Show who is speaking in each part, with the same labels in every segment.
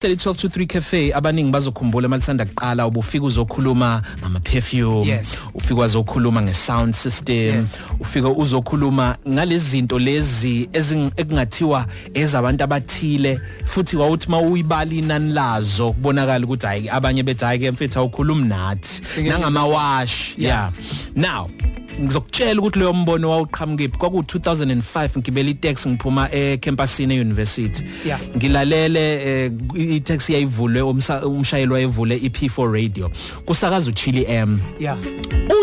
Speaker 1: Sele 12 to 3 cafe abaningi bazokhumbula malisanda kuqala ubufika uzokhuluma ngama perfume
Speaker 2: Yes.
Speaker 1: ufika uzokhuluma nge sound system
Speaker 2: Yes.
Speaker 1: ufika uzokhuluma ngalezi zinto lezi ezing- ekungathiwa ezabantu abathile futhi wawuthi mawuyibali inani lazo kubonakala ukuthi hayi abanye bethi hayi ke mfethu awukhulumi nathi
Speaker 2: Ngeke
Speaker 1: nangamawash yeah now ngizokutshela ukuthi leyo mbono wawuqhamukiphi kwaku 2005 ngibele itaxi ngiphuma ecampusini euniversity
Speaker 2: Yeah.
Speaker 1: ngilalele eh, itaxi yayivulwe umsa- umshayeli wayevule iP4 radio kusakaza uchili M
Speaker 2: yeah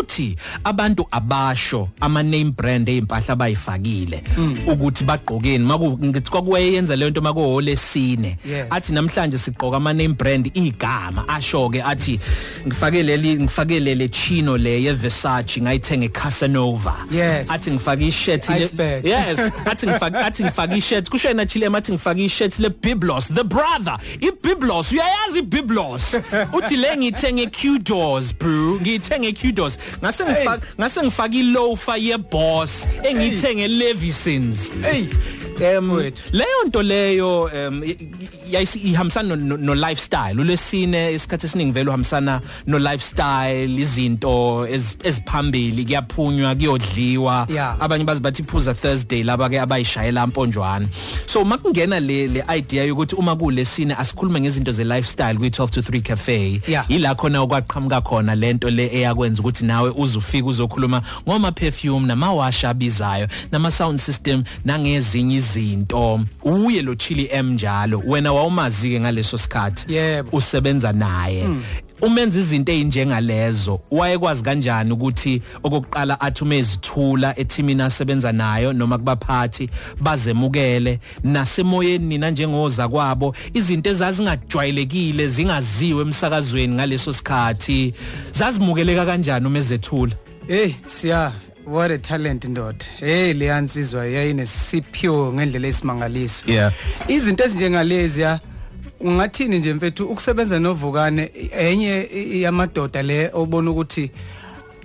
Speaker 1: uthi abantu abasho ama name brand ezimpahla bayifakile
Speaker 2: Hmm.
Speaker 1: ukuthi bagqokeni maku ngithi kwakuyenza le nto mako hole sine
Speaker 2: Yes.
Speaker 1: athi namhlanje sigqoka ama name brand igama asho ke athi ngifake leli ngifake lele chino le ye Versace ngayithenga e Casanova
Speaker 2: Yes.
Speaker 1: athi ngifake ishirt le-
Speaker 2: Iceberg.
Speaker 1: yes athi ngifake athi ngifake ishirt kusho yena chile mathi ngifake ishirt le Biblos the brother i Biblos uyayazi i Biblos uthi le ngithenge Qdoors bro ngithenge Qdoors ngase ngifaka ngase ngifake i loafer ye boss engithenge Levisons
Speaker 2: hey
Speaker 1: em leyo nto leyo em i- i- yayisi- ihambisana no- no- no lifestyle ulesine isikhathi esiningi vele uhambisana no lifestyle izinto ez- eziphambili kuyaphunywa kuyodliwa
Speaker 2: Yeah.
Speaker 1: abanye bazi bathi phuza Thursday laba ke abayishayela amponjwana so makungena le le idea yokuthi uma kulesine asikhulume ngezinto ze lifestyle kwi 12 to 3 cafe
Speaker 2: Yeah.
Speaker 1: ila khona okwaqhamuka khona lento le eyakwenza ukuthi nawe uzufika uzokhuluma ngoma perfume nama wash abizayo nama sound system nangezinye izinto uye lo Chili M njalo wena wawumazi ke ngaleso sikhathi
Speaker 2: Yebo.
Speaker 1: usebenza naye umenza izinto ezinjengalezo wayekwazi kanjani ukuthi okokuqala athume izithula ethimini asebenza nayo noma kubaphathi bazemukele nasemoyeni nina njengoza kwabo izinto ezazingajwayelekile zingaziwe emsakazweni ngaleso sikhathi zazimukeleka kanjani uma ezethula
Speaker 2: hey siya what a talent ndoda hey leyansizwa yayinesiphiwo ngendlela esimangaliso
Speaker 1: Yeah.
Speaker 2: izinto ezinjengalezi ya ungathini nje mfethu ukusebenza novukane enye i- yamadoda le obona ukuthi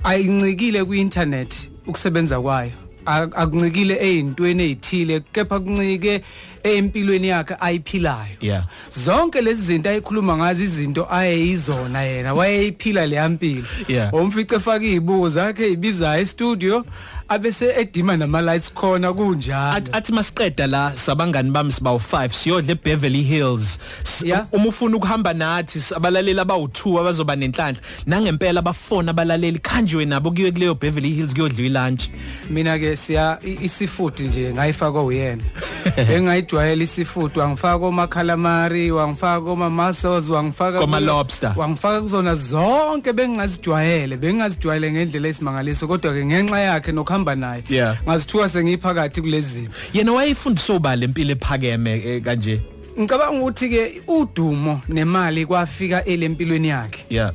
Speaker 2: ayincikile kwi-internet ukusebenza kwayo A- akuncikile ey'ntweni ey'thile kepha kuncike empilweni yakhe ayiphilayo
Speaker 1: Yeah.
Speaker 2: zonke lezi zinto ayikhuluma ngazo izinto ayeyizona yena wayeyiphila leya mpilo
Speaker 1: Yeah.
Speaker 2: umfice efake iy'buko zakhe ibizayo estudio abese edima nama-lights khona kunjalo
Speaker 1: At- athi masiqeda la sabangani bami sibawu 5 siyodla eBeverly Hills S-
Speaker 2: Yeah.
Speaker 1: uma ufuna ukuhamba nathi sabalaleli abawu2 abazoba nenhlanhla nangempela abafona abalaleli kanjiwe nabo kuyiwe kuleyo Beverly Hills kuyodliwa ilunch
Speaker 2: mina-ke siya i- isifudu nje ngayifaka uyena engayijwayela isifudu wangifaka omakhalamari wangifaka oma-muscles wangifaka
Speaker 1: Koma
Speaker 2: ku-
Speaker 1: lobster.
Speaker 2: wangifaka kuzona zonke bengingazijwayele bengingazijwayele ngendlela esimangaliso kodwa-ke ngenxa yakhe nokuhamba naye
Speaker 1: Yeah.
Speaker 2: ngazithuka sengiyiphakathi kulezi zinto
Speaker 1: yena wayefundisa ubale impilo ephakeme eh, kanje
Speaker 2: ngicabanga ukuthi-ke udumo nemali kwafika elempilweni yakhe
Speaker 1: yeah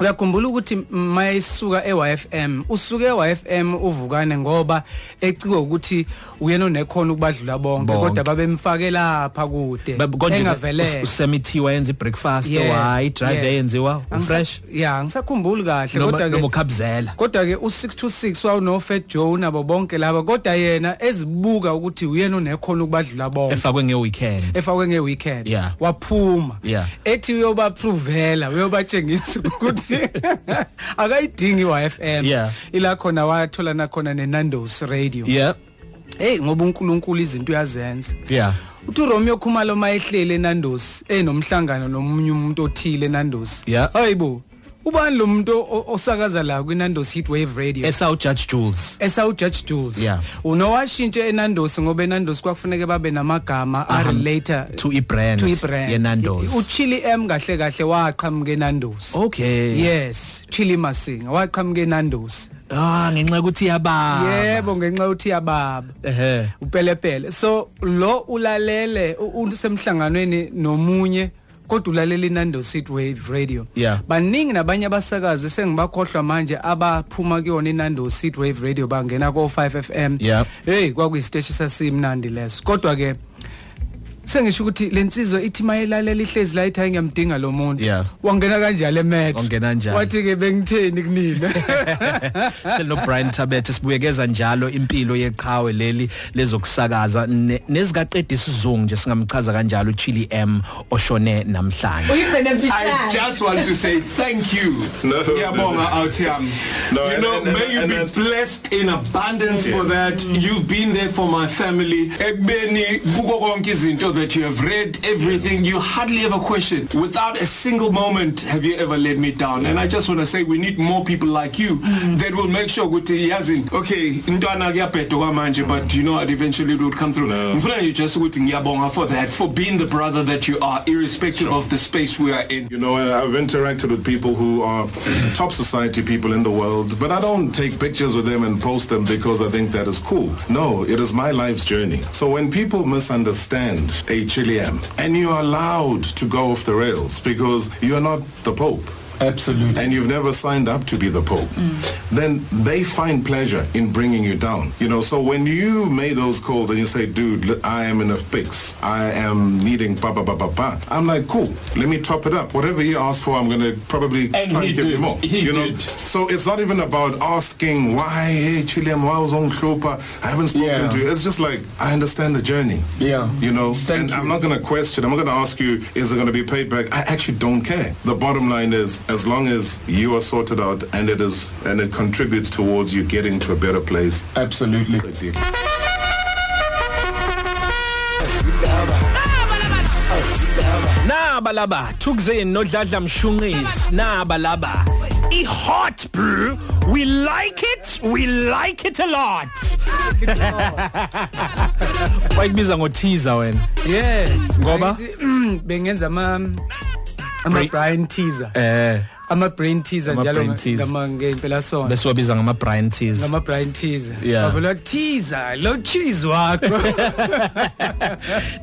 Speaker 2: uyakhumbula ukuthi mayisuka e-YFM usuke e-YFM uvukane ngoba ecike ukuthi uyena onekhona ukubadlula bonke
Speaker 1: Bonke.
Speaker 2: kodwa babemfake lapha kude
Speaker 1: Ba- konje
Speaker 2: Eh, engavelele
Speaker 1: usemthi wayenza ibreakfast wayi drive eyenziwa fresh
Speaker 2: ya ngisakhumbuli kahle
Speaker 1: noma noma
Speaker 2: kodwa ke
Speaker 1: ukhabzela
Speaker 2: kodwa ke u626 wawunofed Joe nabo bonke laba kodwa yena ezibuka ukuthi uyena onekhona ukubadlula bonke
Speaker 1: efakwe ngeweekend
Speaker 2: efakwe ngeweekend
Speaker 1: Yeah.
Speaker 2: waphuma
Speaker 1: Yeah.
Speaker 2: ethi uyobapruvela uyobatshengisa ukuthi akayidingi i-YFM
Speaker 1: Yeah.
Speaker 2: ila khona wathola nakhona nenandos radio
Speaker 1: yeah
Speaker 2: hey ngoba uNkulunkulu izinto uyazenza
Speaker 1: yeah
Speaker 2: uthi uRomeo Khumalo mayehlele enandos enomhlangano nomunye umuntu othile enandos
Speaker 1: Yeah.
Speaker 2: hayibo ubani lo muntu o- osakaza la kwinandos heatwave radio
Speaker 1: esawu judge Jules
Speaker 2: esawu Judge Jules
Speaker 1: Yeah.
Speaker 2: unowashintshe enandos ngoba enandos kwakufuneka babe namagama a
Speaker 1: Aham-
Speaker 2: relator
Speaker 1: to ibrand
Speaker 2: to ibrand
Speaker 1: yenandos
Speaker 2: uchili m kahle kahle waqhamuka enandos
Speaker 1: Okay.
Speaker 2: yes chili masinga waqhamuka enandos
Speaker 1: Ah ngenxa ukuthi yababa.
Speaker 2: yebo ngenxa yokuthi yababa
Speaker 1: Ehhe.
Speaker 2: upelepele so lo ulalele u- usemhlanganweni nomunye kodwa ulalela inandos heatwave radio
Speaker 1: Yeah.
Speaker 2: baningi nabanye abasakazi sengibakhohlwa manje abaphuma kuyona inandos heatwave radio bangena ko-5 f m
Speaker 1: Yeah.
Speaker 2: heyi kwakuyisiteshi sasimnandi leso kodwa-ke sengisho ukuthi lensizwa ithi mayilalela ihlezi la ithi hayi ngiyamdinga lo muntu
Speaker 1: Yeah.
Speaker 2: wangena kanjalo ematch
Speaker 1: Wangena njalo.
Speaker 2: wathi ke bengitheni kunina
Speaker 1: Sihleli no Brian Tabete sibuyekeza njalo impilo yeqhawe leli lezokusakaza ne- nezikaqedi isizungu nje singamchaza kanjalo uChili M oshone namhlanje.
Speaker 3: uyibhene
Speaker 4: I
Speaker 3: mfishane
Speaker 4: just want to say thank you,
Speaker 5: No,
Speaker 4: Yabonga Autiam.
Speaker 5: No,
Speaker 4: you
Speaker 5: and-
Speaker 4: know,
Speaker 5: and- and-
Speaker 4: may you
Speaker 5: and-
Speaker 4: be
Speaker 5: and-
Speaker 4: blessed in abundance for
Speaker 5: Yeah.
Speaker 4: that. You've been there for my family. Ekubeni kuko konke izinto that you have read, everything, you hardly ever question. Without a single moment have you ever let me down. And I just want to say we need more people like you that will make sure ukuthi yazin okay intwana kuyabhedo kwamanje but you know what eventually it would come through.
Speaker 5: No.
Speaker 4: Ngifuna nje just ukuthi ngiyabonga for that for being the brother that you are irrespective of the space we are in.
Speaker 5: You know, and I've interacted with people who are top society people in the world, but I don't take pictures with them and post them because I think that is cool. No, it is my life's journey. So when people misunderstand a Chile M, and you are allowed to go off the rails because you are not the Pope.
Speaker 4: Absolutely.
Speaker 5: and you've never signed up to be the pope
Speaker 4: Mm.
Speaker 5: then they find pleasure in bringing you down you know so when you made those calls and you say dude look, i am in a fix i am needing ba ba ba ba ba i'm like cool let me top it up whatever he asked for i'm gonna probably
Speaker 4: And
Speaker 5: try
Speaker 4: he
Speaker 5: and give
Speaker 4: did.
Speaker 5: you more
Speaker 4: He
Speaker 5: you know
Speaker 4: did.
Speaker 5: so it's not even about asking why hey chilean why was on Klopa? i haven't spoken
Speaker 4: Yeah.
Speaker 5: to you it's just like i understand the journey
Speaker 4: Yeah.
Speaker 5: you know
Speaker 4: Thank
Speaker 5: and
Speaker 4: you.
Speaker 5: i'm not going to question i'm not going to ask you is it going to be paid back i actually don't care the bottom line is as long as you are sorted out and it is and it contributes towards you getting to a better place
Speaker 4: Absolutely.
Speaker 5: good deal
Speaker 1: Naba laba Thukzeni nodladla mshunqisi naba laba i hot brew we like it we like it a lot. Wayibiza ngoteaser wena.
Speaker 2: yes
Speaker 1: Ngoba?
Speaker 2: Ngithi, mm, bengenza ama ama
Speaker 1: Brain-
Speaker 2: brain teaser
Speaker 1: Eh
Speaker 2: ama brain teaser
Speaker 1: Ama
Speaker 2: njalo
Speaker 1: brain teaser.
Speaker 2: ngama ngempela sonto
Speaker 1: bese wabiza ngama Brian teas.
Speaker 2: ngama brain teaser
Speaker 1: Yeah.
Speaker 2: bavela teaser lo cheese wakho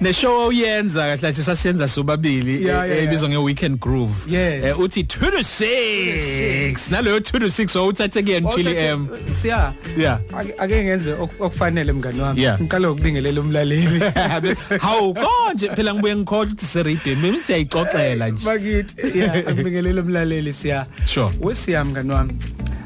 Speaker 1: neshow awuyenza kahle nje sasiyenza sobabili
Speaker 2: Yeah, yeah,
Speaker 1: eh,
Speaker 2: yeah.
Speaker 1: ebizwa nge weekend groove
Speaker 2: Yes.
Speaker 1: Eh, uthi 2 to 6
Speaker 2: six.
Speaker 1: naloyo 2 to 6 owuthathe ke nchili m
Speaker 2: siya
Speaker 1: yeah
Speaker 2: Ake- ake ngenze ok- okufanele mngani wami
Speaker 1: Yeah.
Speaker 2: ngiqale ukubingelela umlaleli
Speaker 1: hawu konje phela ngibuye ngikhohle ukuthi seredio mimi siyayixoxela nje
Speaker 2: bakithi yeah akubingelela umlaleli siya
Speaker 1: Sure.
Speaker 2: wesiya mngani wami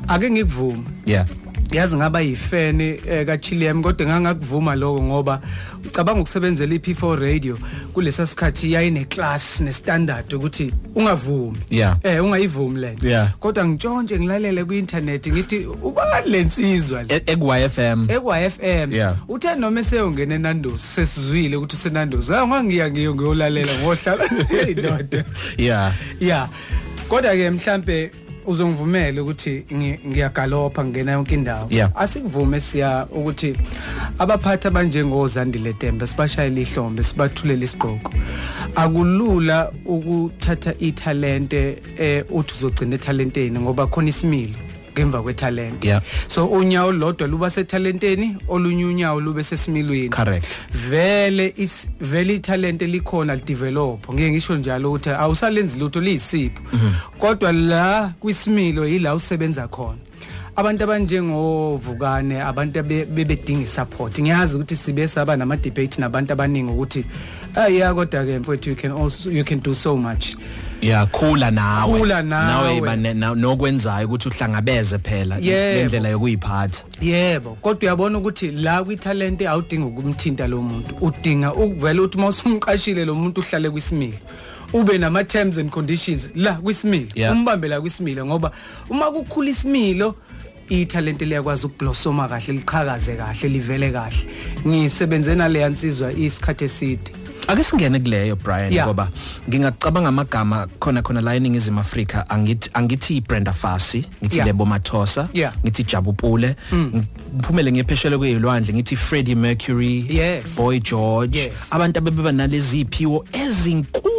Speaker 2: ake ngikuvuma
Speaker 1: yeah
Speaker 2: yazi ngaba yifeni eh, kaChiliam kodwa ngangakuvuma lokho ngoba ucabanga ukusebenzela iP4 radio kulesa sikhathi yayine class ne standard ukuthi ungavumi
Speaker 1: Yeah.
Speaker 2: eh ungayivumi lento
Speaker 1: Yeah.
Speaker 2: kodwa ngitshontshe ngilalele kuinternet ngithi ubani lensizwa le
Speaker 1: E- eku-yfm
Speaker 2: ekwa FM
Speaker 1: Yeah.
Speaker 2: uthe noma eseyongena enandosi sesizwile ukuthi usenandosi hayi ngangiya ngiyo ngiyolalela ngohlala hey doda
Speaker 1: yeah
Speaker 2: yeah kodwa ke mhlambe uzongivumela ukuthi ngi- ngiyagalopha ngena yonke indawo
Speaker 1: Yeah.
Speaker 2: asikuvume siya ukuthi abaphathi abanjengozandile Temba sibashayela ihlombe sibathulela isigqoko akulula ukuthatha italente eh uthi uzogcina etalenteni ngoba khona isimilo ngemva kwetalente
Speaker 1: Yeah.
Speaker 2: so unyawo lodwa luba setalenteni olunye unyawo lube sesimilweni
Speaker 1: Correct.
Speaker 2: vele is vele talent elikhona lidevelop ngeke ngisho njalo ukuthi awusalenzi lutho liyisipho kodwa la kwisimilo yila usebenza khona abantu abanjengovukane abantu abe- bebedinga support ngiyazi ukuthi sibe saba nama debate nabantu abaningi ukuthi ayiya kodwa ke mfowethu you can also you can do so much
Speaker 1: yeah khula nawe
Speaker 2: Khula nawe.
Speaker 1: nawe iba ne- na- nokwenzayo ukuthi uhlangabeze phela
Speaker 2: Yebo.
Speaker 1: lendlela yokuyiphatha
Speaker 2: yebo kodwa uyabona ukuthi la kwitalente awudingi ukumthinta lo muntu udinga ukuvela ukuthi mawusumqashile lo muntu uhlale kwisimilo ube nama terms and conditions la kwisimilo
Speaker 1: Yeah.
Speaker 2: umbambe la kwisimilo ngoba uma kukhula isimilo italente liyakwazi ukublossoma kahle liqhakaze kahle livele kahle ngisebenze nale ansizwa isikhathe eside
Speaker 1: ake singene kuleyo Brian
Speaker 2: Yeah.
Speaker 1: ngoba ngingacabanga amagama khona khona la eningizimu Afrika angithi angithi Brenda Fassie ngithi
Speaker 2: Yeah.
Speaker 1: Lebo Mathosa
Speaker 2: Yeah. Mm.
Speaker 1: ngithi Jabu Pule ngiphumele ngepheshelo kwelwandle ngithi Freddie Mercury
Speaker 2: Yes.
Speaker 1: Boy George
Speaker 2: Yes.
Speaker 1: abantu abebeba nalezi iphiwo ezinkulu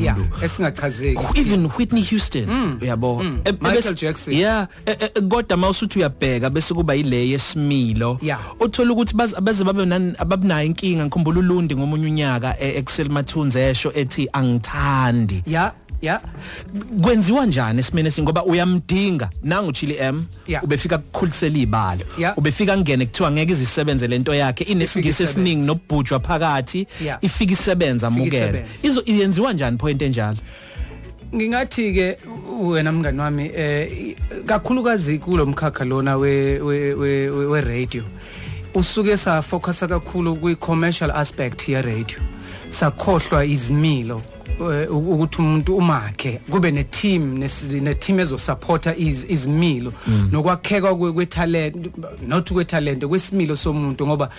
Speaker 2: yeah esingachazeki
Speaker 1: Oh, even Whitney Houston uyabo E-
Speaker 2: Mm. Michael
Speaker 1: ebes-
Speaker 2: Jackson.
Speaker 1: yeah e- e- kodwa mawusuthi uyabheka bese kuba yile yesimilo
Speaker 2: Yeah.
Speaker 1: uthola ukuthi baz- baze babe nan- ababunayo inkinga ngikhumbula ulundi ngomunye unyaka e- ekusel mathunzi esho ethi angithandi
Speaker 2: ya yeah
Speaker 1: kwenziwa njani esimene sinye? ngoba uyamdinga nangu Chili M
Speaker 2: Yeah.
Speaker 1: ubefika kukhulisela izibalo
Speaker 2: Yeah.
Speaker 1: ubefika ngene kuthiwa ngeke izisebenze lento yakhe inesingisi
Speaker 2: isebenze.
Speaker 1: esiningi nobhujwa phakathi
Speaker 2: Yeah.
Speaker 1: ifika isebenza amukele
Speaker 2: isebenze.
Speaker 1: izo iyenziwa njani point enjalo
Speaker 2: ngingathi ke wena mngani wami eh i- kakhulukazi kulomkhakha lona we we we we- we radio usuke sa focus kakhulu kwi commercial aspect ye radio sakhohlwa izimilo eh, u- ukuthi umuntu umakhe kube ne team nes- ne team ezosupporta iz- izimilo nokwakheka kwe kwe talent not kwe talent kwesimilo somuntu ngoba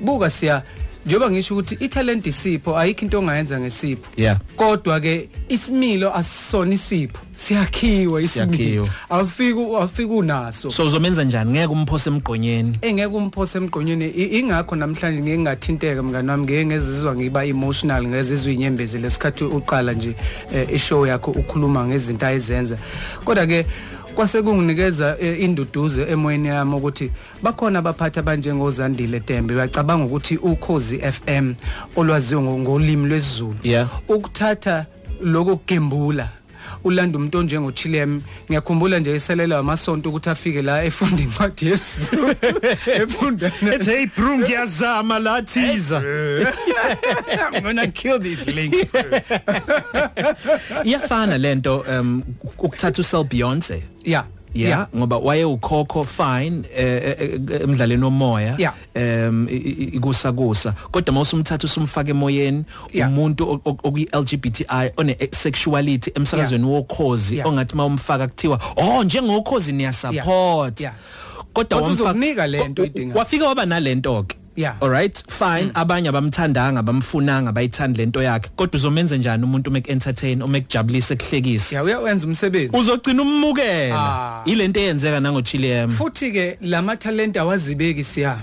Speaker 2: buka siya njengoba ngisho ukuthi i talent isipho ayikho into ongayenza ngesipho
Speaker 1: Yeah.
Speaker 2: kodwa ke isimilo asisona isipho siyakhiwa isimilo
Speaker 1: Siyakhiwa.
Speaker 2: afika afika unaso
Speaker 1: so uzomenza njani ngeke umphose emgqonyeni
Speaker 2: engeke umphose emgqonyeni I- ingakho namhlanje ngeke ngathinteka mngani wami ngeke ngezizwa ngiba emotional ngezizwa inyembezi lesikhathi uqala nje eh, ishow yakho ukhuluma ngezinto ayizenza kodwa ke kwase kunginikeza eh, induduzo emoyeni yami ukuthi bakhona abaphathi abanjengozandile Dembe uyacabanga ukuthi ukhozi FM olwaziwa ngo- ngolimi lwesiZulu
Speaker 1: Yeah.
Speaker 2: ukuthatha lokho kugembula ulanda umuntu onjengo Chilem ngiyakhumbula nje iselela amasonto ukuthi afike la efunda incwadi yesizulu efunda
Speaker 1: ethi hey bro ngiyazama lathiza
Speaker 2: I'm going to kill these links
Speaker 1: iyafana lento um ukuthatha usel Beyonce
Speaker 2: yeah
Speaker 1: yeah ngoba waye ukhokho fine eh, eh, eh, emdlaleni omoya
Speaker 2: Yeah.
Speaker 1: um ikusa kusa kodwa mawusumthatha usumfaka emoyeni
Speaker 2: Yeah.
Speaker 1: umuntu okuyi LGBTI one eh, sexuality emsakazweni wokhozi
Speaker 2: Yeah.
Speaker 1: ongathi mawumfaka kuthiwa oh njengokhozi niya support
Speaker 2: Yeah.
Speaker 1: kodwa
Speaker 2: Kodwa
Speaker 1: wamfaka
Speaker 2: uzokunika lento
Speaker 1: wa-
Speaker 2: oyidingayo.
Speaker 1: wafika waba nalento ke
Speaker 2: Yeah. Mm.
Speaker 1: all right fine abanye abamthandanga bamfunanga bayithanda lento yakhe kodwa uzomenza njani umuntu make entertain uma ekujabulisa ekuhlekisa
Speaker 2: yeah uyawenza umsebenzi
Speaker 1: uzogcina ummukela
Speaker 2: Ah.
Speaker 1: ilento eyenzeka nangochiliyem
Speaker 2: futhi ke lama talent awazibeki siya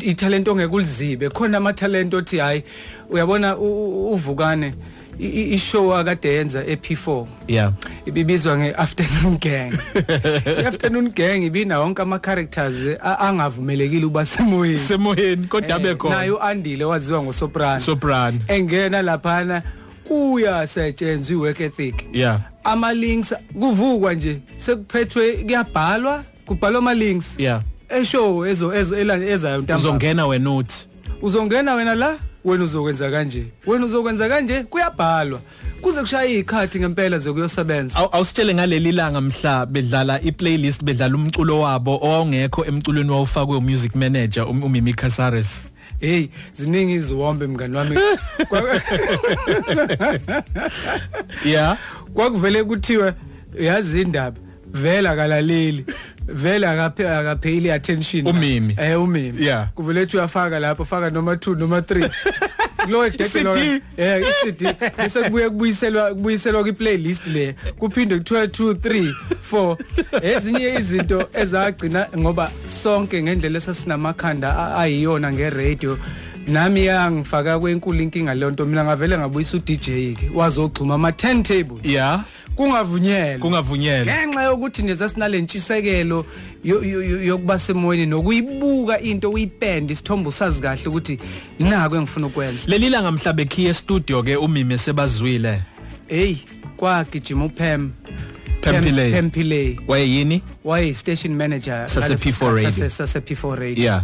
Speaker 2: italent ongeke ulizibe khona ama talent othi hayi uyabona u- u- uvukane i- i- ishow akade yenza eP4
Speaker 1: yeah
Speaker 2: ibibizwa ngeafternoon gang iafternoon gang ibina wonke ama characters a- angavumelekile uba semoyeni Eh,
Speaker 1: semoyeni kodwa
Speaker 2: naye uandile waziwa ngosoprano
Speaker 1: Soprano.
Speaker 2: engena laphana kuyasetshenzwa iwork ethic
Speaker 1: yeah
Speaker 2: ama-links kuvukwa nje sekuphethwe kuyabhalwa kubhalwa ama-links
Speaker 1: Yeah.
Speaker 2: eshow ezo- ezo- ela- ezayo ntambama.
Speaker 1: uzongena wena uthi
Speaker 2: uzongena wena la wena uzokwenza kanje wena uzokwenza kanje kuyabhalwa kuze kushaye iy'khathi ngempela zokuyosebenza
Speaker 1: Aw- awusitshele ngaleli langa mhla bedlala i-playlist bedlala umculo wabo owawungekho emculweni wawufakwe umusic manager um- umimi Casares
Speaker 2: hey ziningi iziwombe mngani wami Kwa-
Speaker 1: yeah
Speaker 2: kwakuvele kuthiwe uyazi indaba vele akalaleli vele akaphe- akapheyile attention
Speaker 1: Umimi.
Speaker 2: eh umimi
Speaker 1: Yeah.
Speaker 2: kuvele ethi uyafaka lapho faka noma 2 noma 3 lo
Speaker 1: I-CD.
Speaker 2: ekudedelo eh iCD bese kubuye kubuyiselwa kubuyiselwa kwiplaylist le kuphinde kuthiwa 2 3 4 ezinye izinto ezagcina ngoba sonke ngendlela esasinamakhanda a- ayiyona ngeradio nami yangifaka kwenkulu inkinga leyo nto mina ngavele ngabuyisa uDJ ke wazogxuma ama turntables
Speaker 1: yeah
Speaker 2: kungavunyelwa
Speaker 1: kungavunyelwa
Speaker 2: ngenxa yokuthi nje sasinalentshisekelo yo- yo- yo- yokuba semoyeni nokuyibuka into uyipende isithombe usazi kahle ukuthi nako engifuna ukwenza
Speaker 1: leli langa mhla bekhiye studio ke umimi sebazwile
Speaker 2: hey kwagijima upem
Speaker 1: Pam Pillay.
Speaker 2: pempilay
Speaker 1: waye yini
Speaker 2: wayeyi-station manager
Speaker 1: Sase
Speaker 2: ngaleso
Speaker 1: P4
Speaker 2: sikhathi,
Speaker 1: Radio.
Speaker 2: sase- sase P4 radio
Speaker 1: yeah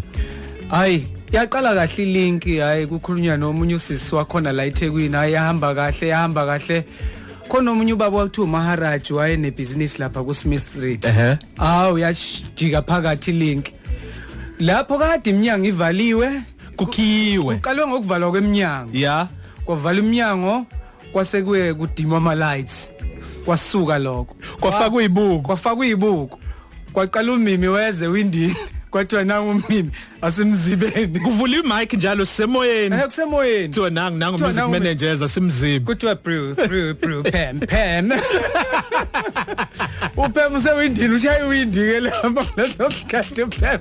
Speaker 2: hayi yaqala kahle ilinki hayi kukhulunywa nomunye usisi wakhona la eThekwini hayi yahamba kahle yahamba kahle khona omunye ubaba wathi uMaharaj waye nebhizinisi lapha kuSmith Street
Speaker 1: Ehhe.
Speaker 2: awu yajika phakathi ilinki lapho kade iminyango ivaliwe
Speaker 1: kukhiwe
Speaker 2: uqalwe ngokuvalwa kweminyango
Speaker 1: yeah
Speaker 2: kwavala iminyango kwase kuye kudimwa ama-lights kwasuka lokho
Speaker 1: kwafakwa ibuko
Speaker 2: kwafakwa izibuko kwaqala umimi weze windini kwathiwa nangu umimi asemzibeni
Speaker 1: kuvula imic njalo semoyeni
Speaker 2: Eh, kusemoyeni
Speaker 1: kuthiwa nangu nangu
Speaker 2: Kuthiwa
Speaker 1: music
Speaker 2: nangu-
Speaker 1: manager zasimzibi
Speaker 2: kuthiwa brew brew brew pam pam upam usewindini ushaye iwindi-ke lapho leso sikhathi upam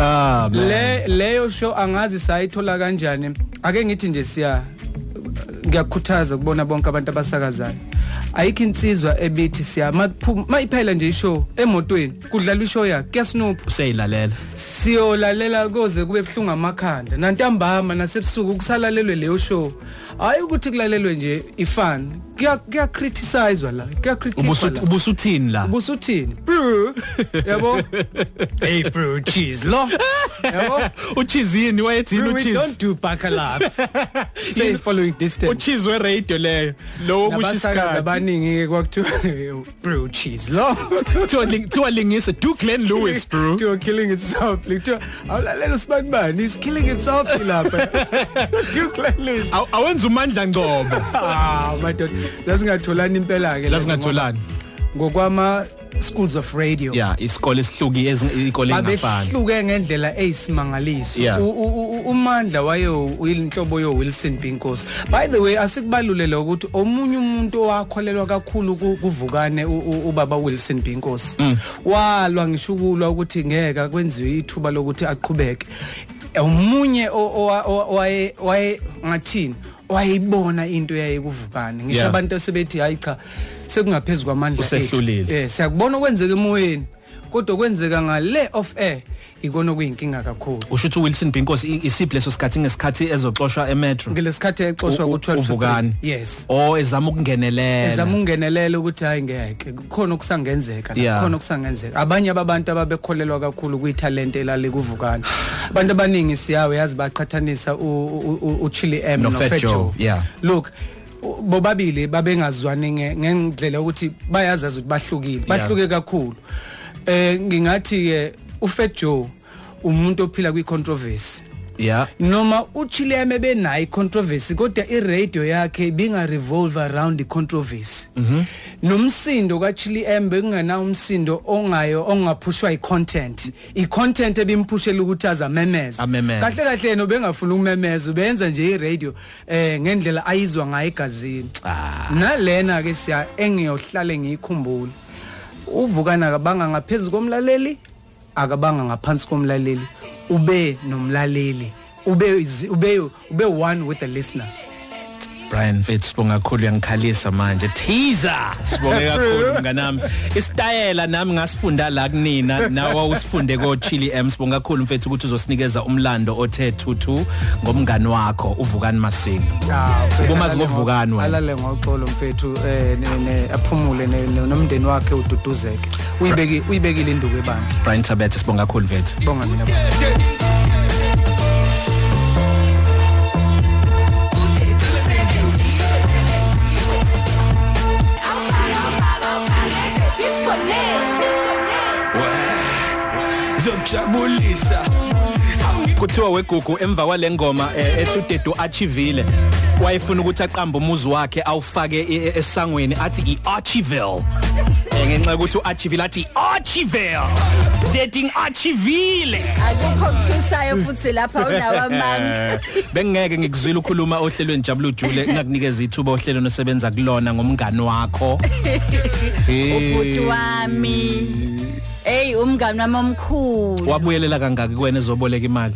Speaker 1: ah
Speaker 2: le leyo show angazi sayithola kanjani ake ngithi nje siya ngiyakukhuthaza kubona bonke abantu abasakazayo ayikho insizwa ebithi siya maphuma mayiphela nje ishow emotweni kudlalwa ishow yakhe kuyasinupa
Speaker 1: useyilalela
Speaker 2: siyolalela koze kube buhlungu amakhanda nantambama nasebusuku kusalalelwe leyo show hayi ukuthi kulalelwe nje ifun kuyakritisayizwa la
Speaker 1: Ubusu-
Speaker 2: kuyakritiswa
Speaker 1: ubusuthini la
Speaker 2: ubusuthini bru yabo hey bru cheese lo yabo
Speaker 1: uchizini wayethini
Speaker 2: Bru, we don't
Speaker 1: uchizi
Speaker 2: do bacalab say following distance
Speaker 1: uchizi weradio leyo lo obusha
Speaker 2: nabasakazi
Speaker 1: isikhathi
Speaker 2: abaningi-ke kwakuthiwa bru cheese lo
Speaker 1: Kuthiwa ling- kuthiwa lingise do glenn lewis bro
Speaker 2: Kuthiwa killing itself like kuthiwa awulalela usibanibani is killing itself lapha duklelisa
Speaker 1: Aw- awenza umandla ngcobo
Speaker 2: ah madoda sasingatholani impela ke
Speaker 1: Sasingatholani.
Speaker 2: ngokwama schools of radio
Speaker 1: ya isikole esihluki ezi- iy'kole engafani
Speaker 2: babehluke ngendlela eyisimangaliso
Speaker 1: Yeah.
Speaker 2: U- u- u- umandla wayeyinhlobo yo-wilson binkosi by the way asikubalulele ukuthi omunye umuntu owakholelwa kakhulu ku- kuvukane u- u- ubaba wilson binkosi
Speaker 1: Mm.
Speaker 2: walwa ngisho ukulwa ukuthi ngeke kwenziwe ithuba lokuthi aqhubeke omunye o- owa- owa- waye waye- ngathini wayibona into yayekuvukane ngisho
Speaker 1: Yeah.
Speaker 2: abantu asebethi hayi cha sekungaphezu kwamandla ethu."
Speaker 1: Usehlulile.
Speaker 2: Eh, siyakubona okwenzeka emoyeni kodwa okwenzeka ngale off air ikona kuyinkinga kakhulu
Speaker 1: usho ukuthi uwilson binkosi i- isiphi leso sikhathi ngesikhathi ezoxoshwa emetro
Speaker 2: ngelesikhathi exoshwa
Speaker 1: U- u-
Speaker 2: ku-12 to
Speaker 1: uvukani
Speaker 2: 3. yes
Speaker 1: o ezama ukungenelela
Speaker 2: ezama ungenelela ukuthi hayi ngeke kukhona okusangenzeka la,
Speaker 1: Yeah.
Speaker 2: kukhona okusangenzeka abanye ababantu ababekholelwa kakhulu kwitalente elalikuvukana abantu abaningi siyawe yazi baqhathanisa u- u- u- uchili m
Speaker 1: No Fat
Speaker 2: nofat
Speaker 1: Joe,
Speaker 2: joe
Speaker 1: yeah.
Speaker 2: look u- bobabili babengazwani nge- ngendlela yokuthi bayazazi ukuthi bahlukile
Speaker 1: Yeah.
Speaker 2: bahluke kakhulu eh ngingathi-ke ufat joe umuntu ophila kwi-controversy
Speaker 1: ya
Speaker 2: noma uchileme benayo icontroversy kodwa iradio yakhe ibingarevolve around icontroversy nomsindo kachilem bekungenawo umsindo ongayo ongaphushwa icontent icontent ebimphushela ukuthi azamemeza
Speaker 1: Amemeze.
Speaker 2: kahle kahle yena ubengafuna ukumemeza ubenza nje iradio eh ngendlela ayizwa ngayo egazini nalena ke siya engiyohlale ngiyikhumbula uvukana akabanga ngaphezulu komlaleli akabanga ngaphansi komlaleli ube nomlaleli ube izi- ube ube one with the listener
Speaker 1: brian fit sibonge kakhulu uyangikhalisa manje teaser sibonge kakhulu mnganami isitayela nami ngasifunda la kunina nawe wawusifunde ko-chili m sibonge kakhulu mfethu ukuthi uzosinikeza umlando othe thuthu ngomngani wakho uvukani masinga Ubumazi ngovukani wena.
Speaker 2: alale ngoxolo mfethu eh ne- ne- aphumule ne- ne- nomndeni wakhe ududuzeke uyibeki uyibekile induku ebandla
Speaker 1: brian tabete sibonge kakhulu mfethu
Speaker 2: bonga mina
Speaker 3: zokujabulisa
Speaker 1: kuthiwa wegugu emva kwale ngoma eh, ethi udedo achivile wayefuna ukuthi aqambe umuzi wakhe awufake e- e- esangweni athi i-archiville Eh, ngenxa yokuthi u-archiville athi i-archiville dating archivile
Speaker 6: akukho kuthusayo futhi lapha unawo amanga
Speaker 1: bengeke ngikuzwile ukhuluma ohlelweni jabula ujule ngakunikeza ithuba ohlelo nosebenza kulona ngomngani wakho
Speaker 6: ubhuti wami eyi umngani wami omkhulu
Speaker 1: wabuyelela kangaki kuwena ezoboleka imali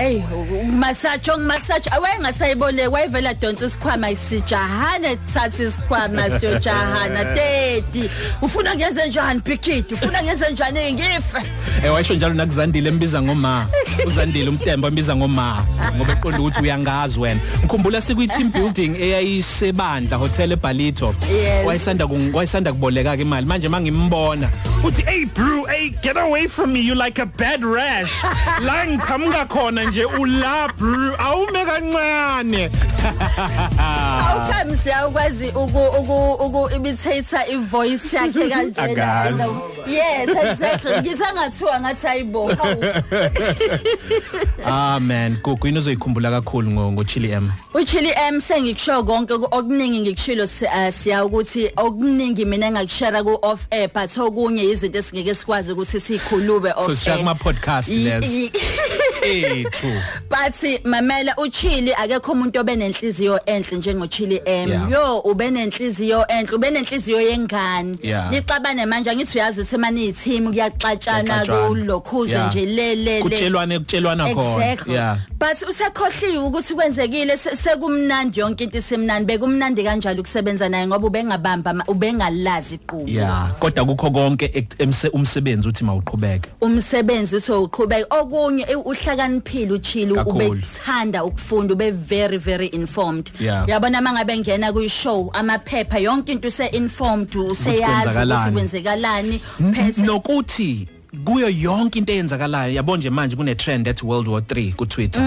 Speaker 6: eyi ngumasatsho ngumasatsho awayengasayiboleki wayevela donsa isikhwama sijahane thatha isikhwama siyojahana teti ufuna ngenze njani bhikidi ufuna ngenze njani ngife
Speaker 1: Eh wayisho njalo nakuzandile embiza ngoma. Uzandile umtemba embiza ngoma ngoba eqonda ukuthi uyangazi wena. Ngikhumbula sikwi team building eyayisebandla hotel eBalito.
Speaker 6: Yes.
Speaker 1: Wayisanda kung- wayisanda kuboleka ke imali. Manje mangimbona uthi hey bro, hey get away from me you like a bad rash. La ngiqhamuka khona nje ula bro. Awume kancane.
Speaker 6: awukhami siyakwazi uku- uku- uku-imitate-a ivoyice yakhe
Speaker 1: Akazi.
Speaker 6: kanjena yes exactly ngisangathiwa ngathi ayibo hawu
Speaker 1: Amen. Ah, Gugu inozoyikhumbula kakhulu ngo ngo Chili M.
Speaker 6: Uchili M sengikusho konke oku- okuningi ngikushilo si- eh, siya ukuthi okuningi mina engakushare ku off air but okunye izinto esingeke sikwazi ukuthi sikhulube off
Speaker 1: So
Speaker 6: air.
Speaker 1: sishaya kuma podcast
Speaker 6: I-
Speaker 1: lezo.
Speaker 6: i-
Speaker 1: ethu
Speaker 6: bathi mamela uchili akekho umuntu obenenhliziyo enhle njengochili
Speaker 1: Yeah.
Speaker 6: M yo ubenenhliziyo enhle ubenenhliziyo yengane
Speaker 1: Yeah.
Speaker 6: nicabane manje angithi uyazi ukuthi mani ithim kuyaxatshana
Speaker 1: Kuyaxatshana.
Speaker 6: kulokhuze
Speaker 1: Yeah.
Speaker 6: nje lelele
Speaker 1: kutshelwane kutshelwana khona
Speaker 6: Exactly.
Speaker 1: yeah
Speaker 6: But usekhohliwe ukuthi kwenzekile se- sekumnandi yonke into isemnandi bekumnandi kanjalo ukusebenza naye ngoba ubengabamba ama- ubengalazi iqubu.
Speaker 1: yeah kodwa kukho konke ek- emse- umsebenzi uthi mawuqhubeke
Speaker 6: Umsebenzi usoqhubeka okunye e- uhlakaniphile uchili
Speaker 1: Kakhulu.
Speaker 6: ubethanda ukufunda ube very very informed.
Speaker 1: Yeah.
Speaker 6: Uyabona mangabe ngena kuyishow amaphepha yonke into use informed useyazi ukuthi kwenzekalani phethe
Speaker 1: nokuthi kuyo yonke into eyenzakalayo yabo nje manje kune trend ethi World War 3 ku Twitter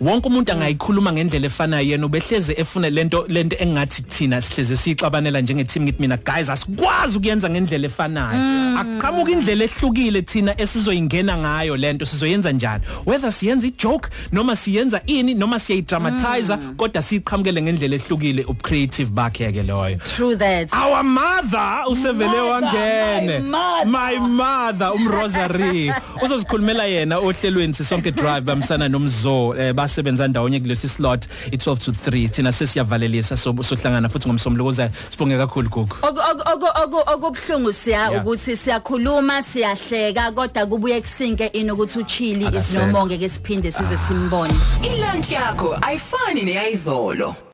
Speaker 1: wonke umuntu angayikhuluma ngendlela efanayo yena ubehleze efuna lento lento engathi thina sihleze sixabanela njenge team ngithi mina guys asikwazi ukuyenza ngendlela efanayo aqhamuka indlela ehlukile thina esizoyingena ngayo lento sizoyenza njani whether siyenza ijoke noma siyenza ini noma siyayidramatize kodwa siqhamukele ngendlela ehlukile ubcreative bakhe ke loyo
Speaker 6: through that.
Speaker 1: our mother usevele
Speaker 6: Mother,
Speaker 1: wangene
Speaker 6: my
Speaker 1: my
Speaker 6: mother.
Speaker 1: mother umrosary uzozikhulumela yena ohlelweni sisonke drive bamsana nomzo eh, basebenza ndawonye kulesi slot i12 to 3 thina sesiyavalelisa so- sohlangana futhi ngomsomlokozayo sibonge kakhulu gogo
Speaker 6: Oku- oku- oku- oku- okubhlungu siya
Speaker 1: Yeah.
Speaker 6: ukuthi siyakhuluma siyahleka kodwa kubuye kusinke ini ukuthi uchili
Speaker 1: Akasekho.
Speaker 6: isinomonge ke siphinde size simbone
Speaker 3: Ilunch yakho ayifani neyizolo.